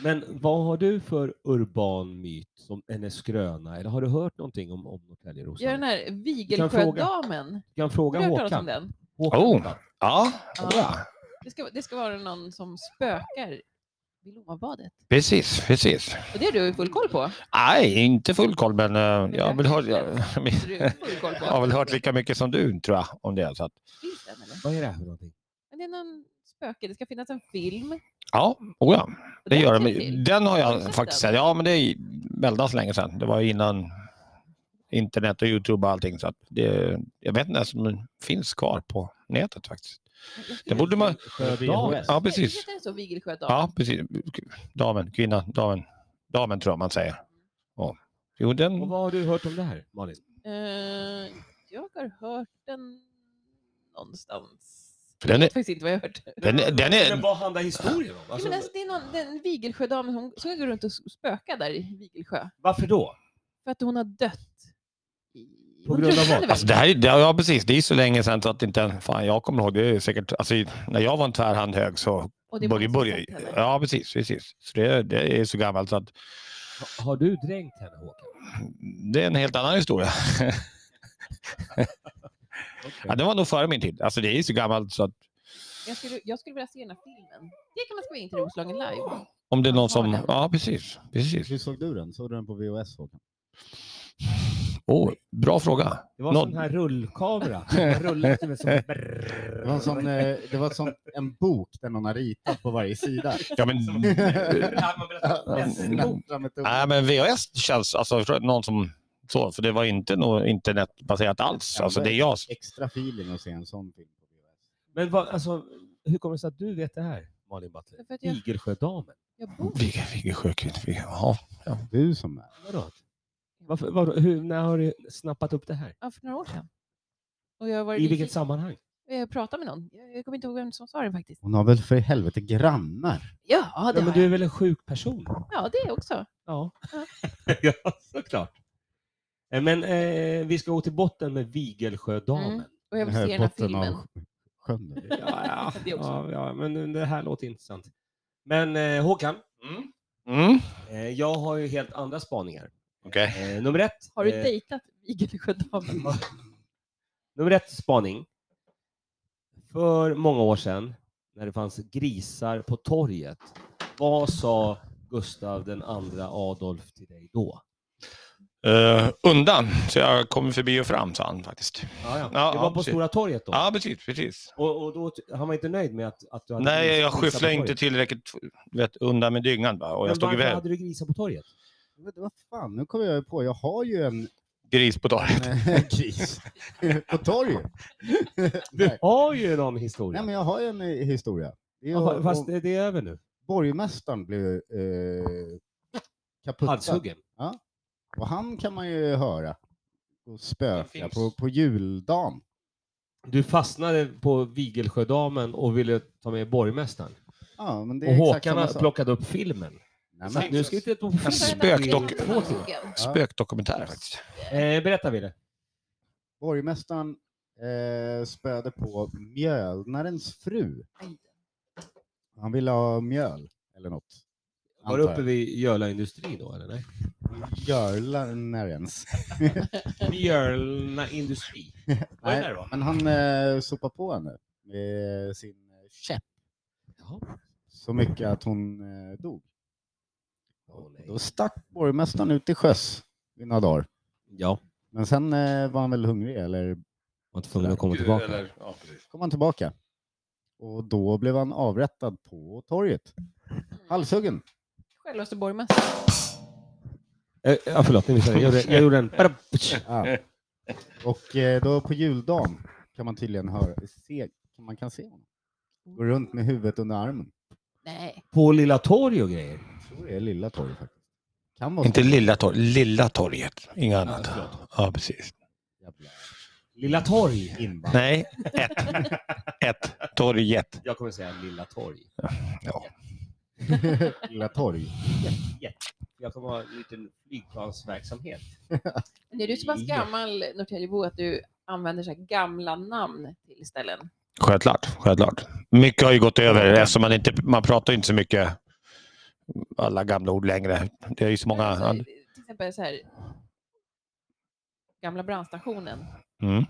[SPEAKER 3] Men vad har du för urban myt, som, eller skröna, eller har du hört någonting om, om Norrtälje,
[SPEAKER 2] Jag är den
[SPEAKER 3] Roslagen?
[SPEAKER 2] här Vigelsjödamen.
[SPEAKER 3] Du kan
[SPEAKER 2] Har du
[SPEAKER 3] fråga
[SPEAKER 2] hört talas om
[SPEAKER 3] Håkan.
[SPEAKER 2] den?
[SPEAKER 3] Håkan
[SPEAKER 4] Oh.
[SPEAKER 3] Åberg.
[SPEAKER 4] Ja,
[SPEAKER 2] Ja.
[SPEAKER 4] ja.
[SPEAKER 2] Det ska, det ska vara någon som spökar vid Lommabadet.
[SPEAKER 4] precis, precis.
[SPEAKER 2] Och det har du full koll på.
[SPEAKER 4] Nej, inte full koll, men eh, jag har väl hört,
[SPEAKER 2] Så du har full koll
[SPEAKER 4] jag har
[SPEAKER 2] på.
[SPEAKER 4] väl hört lika mycket som du tror jag om det. Så att,
[SPEAKER 2] Finns den, eller?
[SPEAKER 3] Vad
[SPEAKER 4] Oh.
[SPEAKER 3] är det här för någonting?
[SPEAKER 2] Men det är någon spöke. Det ska finnas en film.
[SPEAKER 4] ja, oh ja, det
[SPEAKER 2] Den
[SPEAKER 4] gör
[SPEAKER 2] känner till.
[SPEAKER 4] den. Den har
[SPEAKER 2] Har du
[SPEAKER 4] jag
[SPEAKER 2] sett
[SPEAKER 4] faktiskt
[SPEAKER 2] den?
[SPEAKER 4] sett. Ja, men det är väldigt länge sedan. Det var innan internet och Youtube och allting. Så att det, jag vet inte ens om den finns kvar på nätet faktiskt. Det borde man...
[SPEAKER 3] Sjödamen.
[SPEAKER 4] Ja, precis.
[SPEAKER 2] Heter den så, Vigelsjödamen?
[SPEAKER 4] Ja, precis. Damen, kvinnan, damen. Damen tror jag man säger. Ja. Jo,
[SPEAKER 3] Och
[SPEAKER 4] den...
[SPEAKER 3] vad har du hört om det här, Malin?
[SPEAKER 2] Eh, jag har hört den någonstans.
[SPEAKER 4] För den är,
[SPEAKER 2] Jag vet faktiskt inte vad jag har hört.
[SPEAKER 4] den, är- den
[SPEAKER 3] Men
[SPEAKER 4] är,
[SPEAKER 3] vad handlar historien om?
[SPEAKER 2] Ja,
[SPEAKER 3] Alltså,
[SPEAKER 2] men alltså, det är någon, den Vigelsjödamen som, som går runt och spökar där i Vigelsjö.
[SPEAKER 3] varför då?
[SPEAKER 2] För att hon har dött. i-
[SPEAKER 3] På
[SPEAKER 2] hon
[SPEAKER 3] grund av vad?
[SPEAKER 2] drunknade väl?
[SPEAKER 4] alltså det här är, det- ja precis, det är så länge sedan så att inte, fan jag kommer ihåg, det är säkert, alltså när jag var en tvärhand hög så
[SPEAKER 2] Och det är många
[SPEAKER 4] började,
[SPEAKER 2] som har
[SPEAKER 4] började
[SPEAKER 2] sett henne.
[SPEAKER 4] ja precis, precis. Så det, det är så gammalt så att
[SPEAKER 3] Ha- Har du dränkt henne, Håkan?
[SPEAKER 4] det är en helt annan historia.
[SPEAKER 3] Okej.
[SPEAKER 4] Ja, det var nog före min tid, alltså det är så gammalt så att
[SPEAKER 2] Jag, skulle, jag skulle vilja se den här filmen. Det kan man skriva in till Roslagen live.
[SPEAKER 4] om det är någon som, ja precis, precis.
[SPEAKER 1] Hur såg du den? Såg du den på VHS Håkan?
[SPEAKER 4] Åh, bra fråga.
[SPEAKER 3] Det var en
[SPEAKER 4] Någon-
[SPEAKER 3] sån här rullkamera. Den rullade som en sån...
[SPEAKER 1] Det var, en sån, eh, det var sån, en bok där någon har ritat på varje sida.
[SPEAKER 4] Ja, men,
[SPEAKER 1] Snattra med tummen.
[SPEAKER 4] nej, men VHS känns, alltså jag tror att någon som så, för det var inte något internetbaserat alls. Alltså det är jag.
[SPEAKER 1] Extra feeling att se en sån film på VHS.
[SPEAKER 3] Men vad, alltså, hur kommer det sig att du vet det här, Malin Butler?
[SPEAKER 2] Därför att jag,
[SPEAKER 3] Igelsjödamen?
[SPEAKER 2] jag bor
[SPEAKER 4] Vigge, Vigge Sjökvist, Vigge, ja.
[SPEAKER 1] Du som är.
[SPEAKER 3] Vadå? Varför, var, hur, när har du snappat upp det här?
[SPEAKER 2] ja, för några år sedan. Och jag, har varit
[SPEAKER 3] I vilket
[SPEAKER 2] nyfiken-
[SPEAKER 3] sammanhang?
[SPEAKER 2] jag pratade med någon. Jag, jag kommer inte ihåg vem som sa det faktiskt.
[SPEAKER 1] Hon har väl för helvete grannar?
[SPEAKER 2] Ja, det
[SPEAKER 3] Ja, men
[SPEAKER 2] har
[SPEAKER 3] du
[SPEAKER 2] jag.
[SPEAKER 3] är väl en sjuk person?
[SPEAKER 2] Ja, det också.
[SPEAKER 3] Ja,
[SPEAKER 2] Ja.
[SPEAKER 3] ja såklart. Eh, Men eh, vi ska gå till botten med Vigelsjödamen.
[SPEAKER 2] Mm. Och jag vill se den här
[SPEAKER 1] botten
[SPEAKER 2] filmen.
[SPEAKER 1] av sjön. där.
[SPEAKER 3] Ja, ja,
[SPEAKER 2] Det också.
[SPEAKER 3] ja, ja, men det här låter intressant. Men eh, Håkan,
[SPEAKER 4] Mm.
[SPEAKER 3] eh, jag har ju helt andra spaningar.
[SPEAKER 4] Okej.
[SPEAKER 3] Eh, nummer ett.
[SPEAKER 2] Har du
[SPEAKER 3] eh,
[SPEAKER 2] dejtat Vigelsjödamen?
[SPEAKER 3] Nummer ett spaning. För många år sedan, när det fanns grisar på torget, vad sa Gustav den andra Adolf till dig då?
[SPEAKER 4] Eh, undan, så jag kommer förbi och fram, sa han faktiskt. Ja,
[SPEAKER 3] det
[SPEAKER 4] ja,
[SPEAKER 3] var på
[SPEAKER 4] precis.
[SPEAKER 3] Stora torget då?
[SPEAKER 4] Ja, precis. precis.
[SPEAKER 3] Och, och då, han var inte nöjd med att, att du hade
[SPEAKER 4] Nej,
[SPEAKER 3] gris-
[SPEAKER 4] jag
[SPEAKER 3] grisar
[SPEAKER 4] skyfflade
[SPEAKER 3] på
[SPEAKER 4] inte
[SPEAKER 3] torget.
[SPEAKER 4] tillräckligt du vet, undan med dyngan bara, och jag
[SPEAKER 3] Men
[SPEAKER 4] stod i
[SPEAKER 3] varför
[SPEAKER 4] väg.
[SPEAKER 3] hade du grisar på torget?
[SPEAKER 1] Men Vad fan, nu kommer jag ju på. Jag har ju en
[SPEAKER 4] Gris på torget.
[SPEAKER 1] eh, gris på torget. Nej.
[SPEAKER 3] Har ju någon historia.
[SPEAKER 1] Nej, men jag har ju en eh, historia. Det är ju-
[SPEAKER 3] Ja, fa- Fast
[SPEAKER 1] och
[SPEAKER 3] det det är över nu.
[SPEAKER 1] Borgmästaren blev eh, kaputtad.
[SPEAKER 3] Halshuggen.
[SPEAKER 1] Och han kan man ju höra och spöka
[SPEAKER 4] finns.
[SPEAKER 1] på, på juldagen.
[SPEAKER 3] Du fastnade på Vigelsjödamen och ville ta med borgmästaren.
[SPEAKER 1] Ja, men det är
[SPEAKER 3] Och
[SPEAKER 1] exakt
[SPEAKER 3] Håkan
[SPEAKER 1] samma sak.
[SPEAKER 3] plockade upp filmen.
[SPEAKER 1] Nej,
[SPEAKER 3] Så
[SPEAKER 1] men,
[SPEAKER 3] att nu ska vi titta på filmen.
[SPEAKER 4] spökdock-
[SPEAKER 3] I två timmar.
[SPEAKER 4] Spökdokumentär faktiskt.
[SPEAKER 3] Eh, berätta Wille.
[SPEAKER 1] borgmästaren eh, spöade på mjölnarens fru.
[SPEAKER 2] Aj.
[SPEAKER 1] Han ville ha mjöl eller något.
[SPEAKER 3] Var du uppe vid Jöla industri då eller? Nej?
[SPEAKER 1] Mjölnarens.
[SPEAKER 3] Mjölna industri. Var det där då?
[SPEAKER 1] Men han eh, sopade på henne med sin eh, käpp
[SPEAKER 3] Jaha.
[SPEAKER 1] så mycket att hon eh, dog.
[SPEAKER 3] Åh, nej.
[SPEAKER 1] Då stack borgmästaren ut i sjöss i några dagar.
[SPEAKER 3] Ja,
[SPEAKER 1] Men sen eh, var han väl hungrig eller
[SPEAKER 3] var tvungen att komma tillbaka.
[SPEAKER 1] kom han tillbaka. Och då blev han avrättad på torget. Halshuggen.
[SPEAKER 2] Självaste borgmästaren.
[SPEAKER 3] Eh, ja, förlåt, ni missade. Jag gjorde, jag gjorde en...
[SPEAKER 1] Ja. Och eh, då på juldagen kan man tydligen höra, se, man kan se honom. Går runt med huvudet under armen.
[SPEAKER 2] Nej.
[SPEAKER 3] På Lilla Torg och grejer.
[SPEAKER 1] Jag tror det är Lilla torget faktiskt. Kan vara
[SPEAKER 4] Inte
[SPEAKER 1] så.
[SPEAKER 4] Lilla torget, Lilla torget. Inget annat.
[SPEAKER 3] förlåt.
[SPEAKER 4] Ja, precis.
[SPEAKER 3] Jävla- Lilla torg.
[SPEAKER 1] Invandrare.
[SPEAKER 4] Nej, ett. Ett. Torget.
[SPEAKER 3] Jag kommer säga Lilla torg.
[SPEAKER 4] Ja.
[SPEAKER 1] Lilla torg.
[SPEAKER 3] Jag kommer ha en liten flygplansverksamhet.
[SPEAKER 2] Men är du så pass
[SPEAKER 3] Ja.
[SPEAKER 2] gammal Norrtäljebo att du använder så här gamla namn till ställen?
[SPEAKER 4] Självklart, självklart. Mycket har ju gått över eftersom man inte man pratar ju inte så mycket alla gamla ord längre. Det är ju så många.
[SPEAKER 2] Alltså, till exempel så här, gamla brandstationen.
[SPEAKER 4] Mm.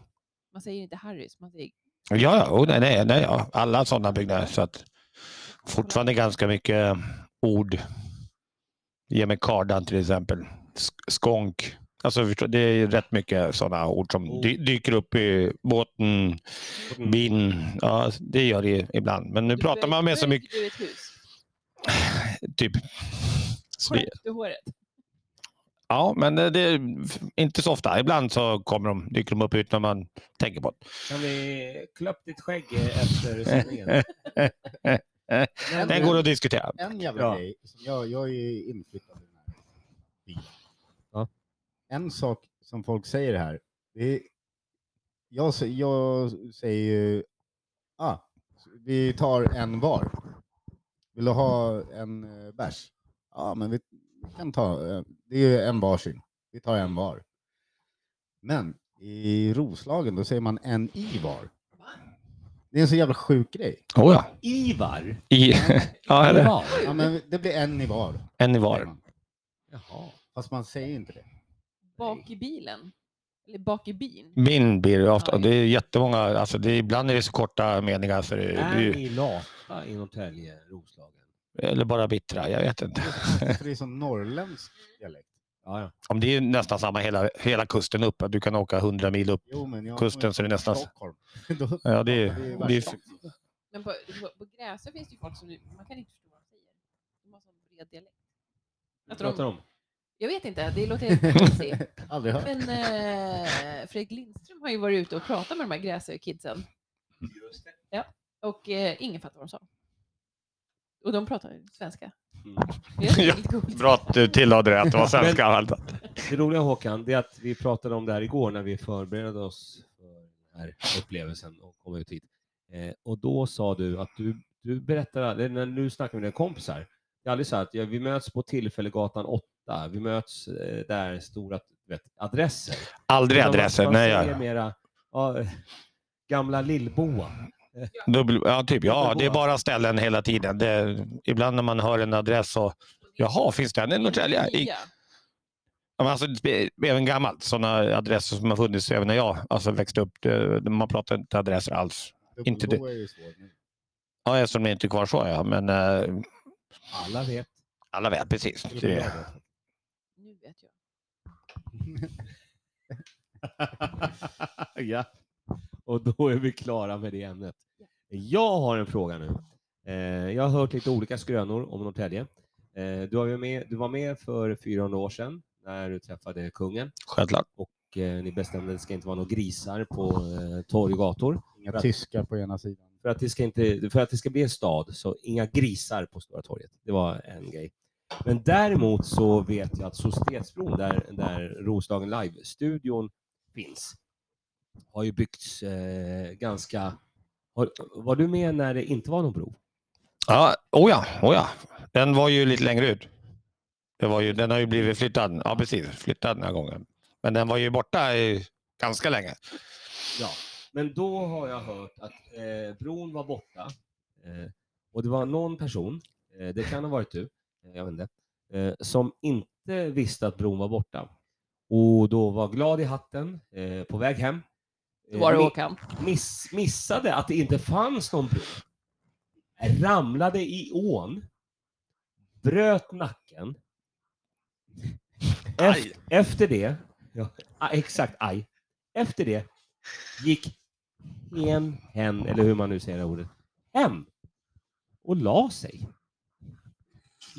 [SPEAKER 2] Man säger inte Harrys, man säger
[SPEAKER 4] Ja, ja, oh, nej, nej, nej, ja. alla sådana byggnader. Så att fortfarande ganska mycket ord. Ge mig kardan till exempel. Sk- Skånk. Alltså, förstå- det är ju rätt mycket sådana ord som dy- dyker upp i båten,
[SPEAKER 3] Mm.
[SPEAKER 4] bin. Ja, det gör Mm. det ibland. Men nu
[SPEAKER 2] Du
[SPEAKER 4] pratar man med så
[SPEAKER 2] böjde
[SPEAKER 4] mycket,
[SPEAKER 2] Du ett hus.
[SPEAKER 4] typ. Sve-
[SPEAKER 2] Sköt du håret?
[SPEAKER 4] Ja, men det det är inte så ofta. Ibland så kommer de, dyker de upp utan man tänker på det.
[SPEAKER 3] Kan vi klä upp ditt skägg efter sändningen?
[SPEAKER 1] Men-
[SPEAKER 4] Den går att diskutera.
[SPEAKER 1] en jävla
[SPEAKER 3] Ja.
[SPEAKER 1] grej. Som jag, jag är ju inflyttad i den här byn.
[SPEAKER 3] Ja.
[SPEAKER 1] En sak som folk säger här. Det är, jag, sä- jag säger ju, ah, vi tar en var. Vill du ha en eh, bärs? Ja, men vi kan ta, eh, det är ju en varsin. Vi tar en var. Men i Roslagen, då säger man en i var. Det är en så jävla sjuk grej.
[SPEAKER 4] Oh, ja.
[SPEAKER 3] Ivar.
[SPEAKER 4] I, ja, eller?
[SPEAKER 3] Ivar.
[SPEAKER 1] Ja, men det blir en i var.
[SPEAKER 4] En i
[SPEAKER 1] säger
[SPEAKER 4] var.
[SPEAKER 1] man.
[SPEAKER 3] Jaha.
[SPEAKER 1] Fast man säger inte det.
[SPEAKER 2] Bak i bilen? Eller bak i bin?
[SPEAKER 4] Min blir det ofta.
[SPEAKER 2] Ja.
[SPEAKER 4] Det är jättemånga, alltså det, är- ibland är det så korta meningar så det, det, är
[SPEAKER 3] Är
[SPEAKER 4] ju-
[SPEAKER 3] ni lata i Norrtälje, Roslagen?
[SPEAKER 4] eller bara bittra. Jag vet inte.
[SPEAKER 1] För det är sån norrländsk dialekt.
[SPEAKER 3] Ja, ja.
[SPEAKER 4] Om det är nästan samma hela, hela kusten upp. att Du kan åka 100 mil upp.
[SPEAKER 1] Jo, men jag
[SPEAKER 4] Kusten, så det är nästan-
[SPEAKER 1] Stockholm. Då-
[SPEAKER 4] Ja, det är,
[SPEAKER 1] det är
[SPEAKER 4] det är,
[SPEAKER 1] värsta.
[SPEAKER 2] Men på, på, på Gräsö finns det ju folk som du- man kan inte förstå vad de säger. De har sån bred dialekt.
[SPEAKER 3] Jag
[SPEAKER 2] Jag, tror
[SPEAKER 3] pratar
[SPEAKER 2] de,
[SPEAKER 3] om.
[SPEAKER 2] jag vet inte, det låter helt konstigt.
[SPEAKER 1] Aldrig hört.
[SPEAKER 2] Men eh, Fredrik Lindström har ju varit ute och pratat med de här Gräsö-kidsen och eh, ingen fattar vad de sa. Och de pratar ju svenska.
[SPEAKER 3] Mm.
[SPEAKER 2] Det är
[SPEAKER 4] Ja,
[SPEAKER 2] väldigt coolt.
[SPEAKER 4] bra att du tillade det, att det var svenska. allt.
[SPEAKER 3] Det roliga Håkan, det är att vi pratade om det här igår när vi förberedde oss för den här upplevelsen och kom ut hit. Eh, och då sa du att du, du berättar, eller när du snackar med dina kompisar, det är aldrig så här att ja, vi möts på Tillfällegatan 8, vi möts eh, där, stora du vet, adresser.
[SPEAKER 4] Aldrig
[SPEAKER 3] Utan man-
[SPEAKER 4] adresser.
[SPEAKER 3] man
[SPEAKER 4] Nej,
[SPEAKER 3] säger
[SPEAKER 4] jag,
[SPEAKER 3] mera, ja, eh, gamla Lillboa.
[SPEAKER 4] dubbel, ja, typ, ja, det är bara ställen hela tiden. Det, ibland när man hör en adress så, jaha, finns den i Norrtälje? I-
[SPEAKER 2] Nya.
[SPEAKER 4] Ja, men Alltså, det är även gammalt, sådana adresser som har funnits även när jag alltså, växte upp. det- Man pratar inte adresser alls. inte
[SPEAKER 1] Dubbelbo är ju svårt nu.
[SPEAKER 4] Ja, eftersom det inte är kvar så, ja. Men eh,
[SPEAKER 3] Alla vet.
[SPEAKER 4] alla vet precis.
[SPEAKER 3] Eller jag
[SPEAKER 4] Det,
[SPEAKER 3] vet.
[SPEAKER 2] Nu vet jag.
[SPEAKER 3] ja. Och då är vi klara med det ämnet. Jag har en fråga nu. Eh, jag har hört lite olika skrönor om Norrtälje. Eh, du, var ju med, du var med för 400 år sedan när du träffade kungen
[SPEAKER 4] självklart.
[SPEAKER 3] och eh, ni bestämde att det ska inte vara några grisar på eh, torg och gator.
[SPEAKER 1] Inga tyskar på ena sidan.
[SPEAKER 3] För att, det ska inte, för att det ska bli en stad, så inga grisar på Stora torget. Det var en grej. Men däremot så vet jag att Societetsbron, där, där Roslagen Live-studion finns, har ju byggts eh, ganska... Har, var du med när det inte var någon bro?
[SPEAKER 4] Ja, oh ja, oh ja. Den var ju lite längre ut. Det var ju, den har ju blivit flyttad. Ja, precis. Flyttad den här gången. Men den var ju borta i, ganska länge.
[SPEAKER 3] Ja, men då har jag hört att eh, bron var borta eh, och det var någon person, eh, det kan ha varit du, eh, jag vet inte, eh, som inte visste att bron var borta och då var glad i hatten eh, på väg hem. Eh,
[SPEAKER 2] Då var det
[SPEAKER 4] Mm.
[SPEAKER 3] mi-
[SPEAKER 2] Håkan.
[SPEAKER 3] miss, missade att det inte fanns någon bro. Ramlade i ån. Bröt nacken.
[SPEAKER 4] Aj.
[SPEAKER 3] Ef- efter det, ja, a- exakt aj. Efter det gick hen, hen, eller hur man nu säger det ordet, hem och la sig.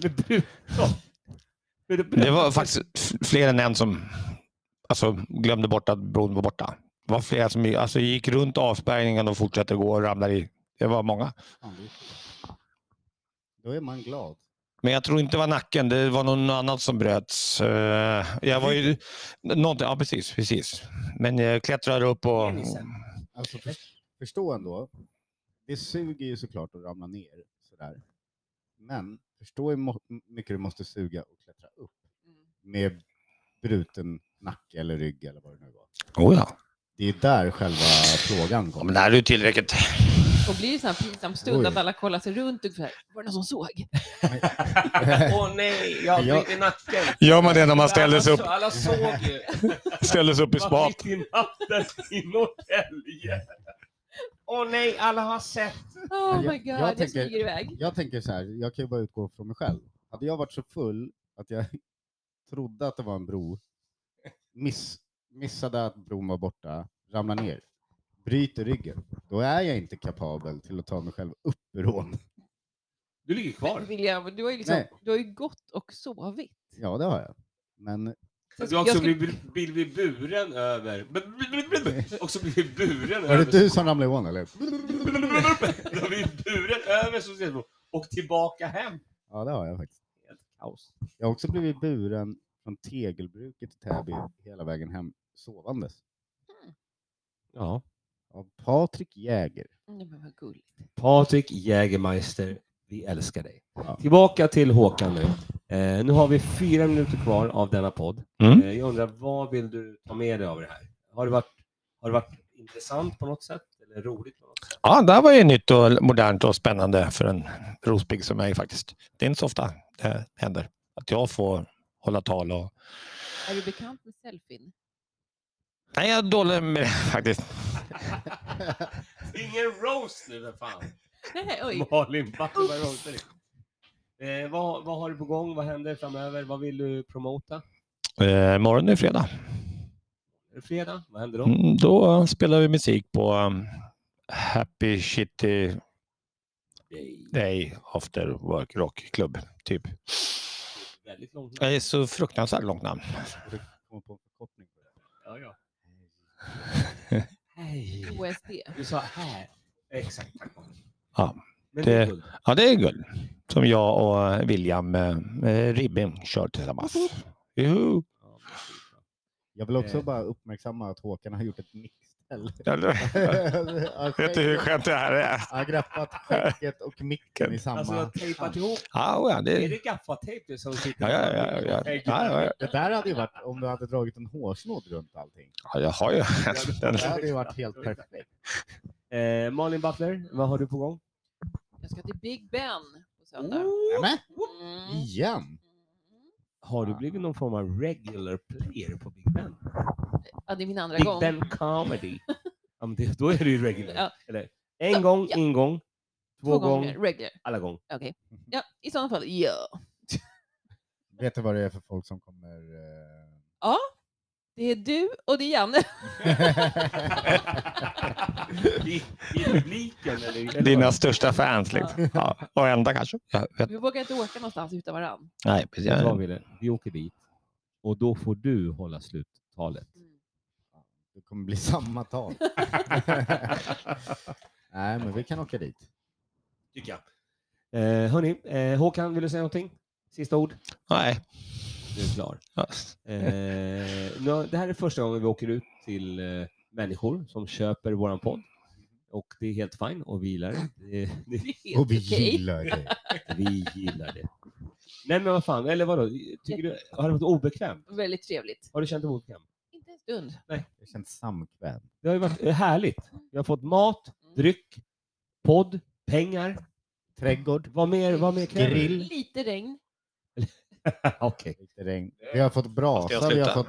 [SPEAKER 3] Med bruten. Med bruten-
[SPEAKER 4] Det var faktiskt f- fler än en som alltså, glömde bort att bron var borta. Det var flera som alltså, gick runt avspärrningen och fortsatte gå och ramlade i. Det var många.
[SPEAKER 1] Fan, det är- Då är man glad.
[SPEAKER 4] Men jag tror inte det var nacken, det var någon annat som bröts. Eh, Jag var ju... Någonting, ja, precis, precis. Men jag klättrade upp och...
[SPEAKER 3] Penisen.
[SPEAKER 1] Alltså, för, förstå ändå. Det suger ju såklart att ramla ner sådär. Men förstå hur mo- mycket du måste suga och klättra upp
[SPEAKER 2] Mm.
[SPEAKER 1] med bruten nacke eller rygg eller vad det nu var.
[SPEAKER 4] Oh, ja.
[SPEAKER 1] Det är där själva plågan
[SPEAKER 4] ja, men
[SPEAKER 1] kommer.
[SPEAKER 4] det här är ju tillräckligt.
[SPEAKER 2] Och blir det sån här pinsam stund
[SPEAKER 1] Oj.
[SPEAKER 2] att alla kollar sig runt och så här, var det någon som såg?
[SPEAKER 3] Åh nej, jag har
[SPEAKER 1] Jag-
[SPEAKER 3] brutit nacken.
[SPEAKER 4] Gör man det när man ställer sig upp,
[SPEAKER 3] Alla, alla såg ju.
[SPEAKER 4] ställer sig upp i
[SPEAKER 3] Vad
[SPEAKER 4] spat?
[SPEAKER 3] mitt i natten i Norrtälje. Åh nej, alla har sett.
[SPEAKER 2] Oh my
[SPEAKER 1] jag-
[SPEAKER 2] god,
[SPEAKER 1] jag
[SPEAKER 2] jag,
[SPEAKER 1] tänker-
[SPEAKER 2] smyger iväg.
[SPEAKER 1] Jag tänker så här, jag kan ju bara utgå från mig själv. Hade jag varit så full att jag trodde att det var en bro, miss, missade att bron var borta, ramlar ner, bryter ryggen, då är jag inte kapabel till att ta mig själv upp ur ån.
[SPEAKER 3] Du ligger kvar.
[SPEAKER 2] Men William, du har ju, liksom,
[SPEAKER 1] Nej.
[SPEAKER 2] du har ju gått och sovit.
[SPEAKER 1] Ja, det har jag. Men
[SPEAKER 2] Så
[SPEAKER 3] Du har också
[SPEAKER 2] jag skulle-
[SPEAKER 3] blivit, blivit buren över... Och så blivit buren
[SPEAKER 1] var det
[SPEAKER 3] över...
[SPEAKER 1] du som ramlade i ån eller?
[SPEAKER 3] Du har blivit buren över Societetsbron och tillbaka hem.
[SPEAKER 1] Ja, det har jag faktiskt.
[SPEAKER 3] Helt kaos.
[SPEAKER 1] Jag har också blivit buren från tegelbruket i Täby hela vägen hem sovandes.
[SPEAKER 3] Ja.
[SPEAKER 1] Av Patrik Jäger.
[SPEAKER 2] Nej, Mm, men vad gulligt.
[SPEAKER 3] Patrik Jägermeister, vi älskar dig.
[SPEAKER 1] Ja.
[SPEAKER 3] Tillbaka till Håkan nu. Eh, nu har vi fyra minuter kvar av denna podd.
[SPEAKER 4] Mm.
[SPEAKER 3] Eh, jag undrar, vad vill du ta med dig av det här? Har det varit, har det varit intressant på något sätt? Eller roligt? På något sätt?
[SPEAKER 4] Ja, det här var ju nytt och modernt och spännande för en rospigg som jag är faktiskt. Det är inte så ofta det händer att jag får hålla tal. Och...
[SPEAKER 2] Är du bekant med selfien?
[SPEAKER 4] Nej, jag är dålig med det faktiskt.
[SPEAKER 3] Ingen roast nu för fan!
[SPEAKER 2] Nej, oj.
[SPEAKER 3] Malin Backman roastar dig. Eh, vad, vad har du på gång? Vad händer framöver? Vad vill du promota?
[SPEAKER 4] Eh, imorgon är det fredag.
[SPEAKER 3] Är det fredag? Vad händer då?
[SPEAKER 4] Mm, då spelar vi musik på um, Happy Shitty
[SPEAKER 3] Nej,
[SPEAKER 4] Day After Work Rock Club, typ.
[SPEAKER 3] väldigt långt.
[SPEAKER 4] Det är så fruktansvärt långt namn.
[SPEAKER 1] Kommer på en förkortning. på det.
[SPEAKER 3] Ja, ja. Hej.
[SPEAKER 2] OSD.
[SPEAKER 3] Du sa här. Exakt. tack.
[SPEAKER 4] Ja,
[SPEAKER 3] Men
[SPEAKER 4] det-
[SPEAKER 3] det... är guld.
[SPEAKER 4] Ja, det är guld. Som jag och William eh, eh, Ribbing kör tillsammans. Juhu.
[SPEAKER 3] Ja, det är skitbra.
[SPEAKER 1] Jag vill också
[SPEAKER 3] Eh.
[SPEAKER 1] bara uppmärksamma att Håkan har gjort ett mixställ. Han
[SPEAKER 4] Vet du hur
[SPEAKER 1] skägget-
[SPEAKER 4] skönt det här är?
[SPEAKER 1] han har greppat skägget och micken i samma...
[SPEAKER 3] Alltså, jag har tejpat ihop.
[SPEAKER 4] Ja, oh ja,
[SPEAKER 3] Är
[SPEAKER 4] det...
[SPEAKER 3] det gaffatejp det som sitter?
[SPEAKER 4] Ja, ja, ja, ja, ja. Ja, ja,
[SPEAKER 1] Det där hade ju varit om du hade dragit en hårsnodd runt allting.
[SPEAKER 4] ja, jag har ju...
[SPEAKER 1] Det hade ju varit helt perfekt.
[SPEAKER 3] Eh, Malin Butler, vad har du på gång?
[SPEAKER 2] Jag ska till Big Ben på söndag.
[SPEAKER 3] Oh,
[SPEAKER 1] Nämen, oh.
[SPEAKER 2] Mm.
[SPEAKER 1] igen!
[SPEAKER 3] Har du blivit någon form av regular player på Big Ben?
[SPEAKER 2] Ja, det är min andra
[SPEAKER 3] Big
[SPEAKER 2] gång.
[SPEAKER 3] Ben comedy. ja, men det, då är du ju regular.
[SPEAKER 2] Ja.
[SPEAKER 3] Eller, en gång,
[SPEAKER 2] ja.
[SPEAKER 3] ingång. Två,
[SPEAKER 2] Två
[SPEAKER 3] gång,
[SPEAKER 2] gånger. Regular.
[SPEAKER 3] alla gång.
[SPEAKER 2] Okej. Ja, i sådana fall, ja.
[SPEAKER 1] Vet du vad det är för folk som kommer... eh,
[SPEAKER 2] Det är du och det är Janne.
[SPEAKER 3] I, I publiken eller? eller vad?
[SPEAKER 4] Dina största fans liksom. Ja, och enda kanske. Jag vet.
[SPEAKER 2] Vi vågar inte åka någonstans utan varann.
[SPEAKER 4] Nej, precis.
[SPEAKER 3] Vet du vad, Wille? Vi åker dit och då får du hålla sluttalet.
[SPEAKER 1] Det kommer bli samma tal. Nej, men vi kan åka dit.
[SPEAKER 3] Tycker jag. Eh, hörni, eh, Håkan, vill du säga någonting? Sista ord?
[SPEAKER 4] Nej.
[SPEAKER 3] Du är klar.
[SPEAKER 4] Ja.
[SPEAKER 3] Eh, nu, har- det här är första gången vi åker ut till eh, människor som köper våran podd. Och det är helt fine och vi gillar det. det. det-
[SPEAKER 2] Det är
[SPEAKER 1] Och vi
[SPEAKER 2] helt okej.
[SPEAKER 1] gillar det.
[SPEAKER 3] Vi gillar det. Nej men vad fan, eller vadå? Tycker du, har det varit obekvämt?
[SPEAKER 2] Väldigt trevligt.
[SPEAKER 3] Har du känt dig obekväm?
[SPEAKER 2] Inte en stund.
[SPEAKER 1] Det känns samkvämt.
[SPEAKER 3] Det har ju varit eh, härligt. Vi har fått mat, dryck, podd, pengar.
[SPEAKER 1] Trädgård,
[SPEAKER 3] Vad mer, vad mer kräver du?
[SPEAKER 1] Grill.
[SPEAKER 2] Lite regn.
[SPEAKER 3] Okej.
[SPEAKER 1] lite regn. Vi har fått
[SPEAKER 4] Ska jag
[SPEAKER 1] brasa, vi har
[SPEAKER 4] sluta?
[SPEAKER 1] fått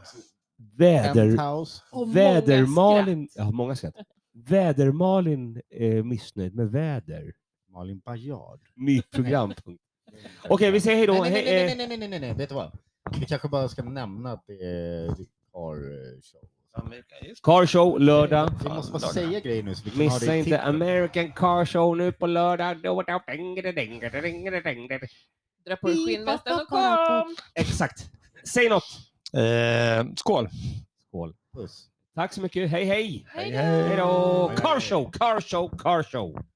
[SPEAKER 3] Väder,
[SPEAKER 1] penthouse.
[SPEAKER 2] Och många
[SPEAKER 3] vädermalin.
[SPEAKER 2] skratt.
[SPEAKER 3] Ja, många skratt. Vädermalin är missnöjd med väder.
[SPEAKER 1] Malin Baryard.
[SPEAKER 3] Nytt programpunkt. Okej, vi säger hej då.
[SPEAKER 1] Nej, nej,
[SPEAKER 3] Hej, eh,
[SPEAKER 1] nej, nej, nej, nej, nej, nej, nej, vet du vad? Vi kanske bara ska nämna att det är car eh, show.
[SPEAKER 3] Car Show lördag.
[SPEAKER 1] Vi måste bara
[SPEAKER 4] lördag.
[SPEAKER 1] säga grejer nu så vi kan ha
[SPEAKER 3] Missa
[SPEAKER 1] det i
[SPEAKER 3] inte
[SPEAKER 1] titeln.
[SPEAKER 3] American Car Show nu på lördag.
[SPEAKER 2] Dra på dig skinnvästen och kom.
[SPEAKER 3] Exakt. Säg något.
[SPEAKER 4] Eh, skål!
[SPEAKER 3] Skål.
[SPEAKER 1] Puss.
[SPEAKER 3] Tack så mycket. Hej, hej.
[SPEAKER 2] Hej
[SPEAKER 4] Hej, hej.
[SPEAKER 2] då!
[SPEAKER 3] Hej då. Car Show, Car Show, Car Show.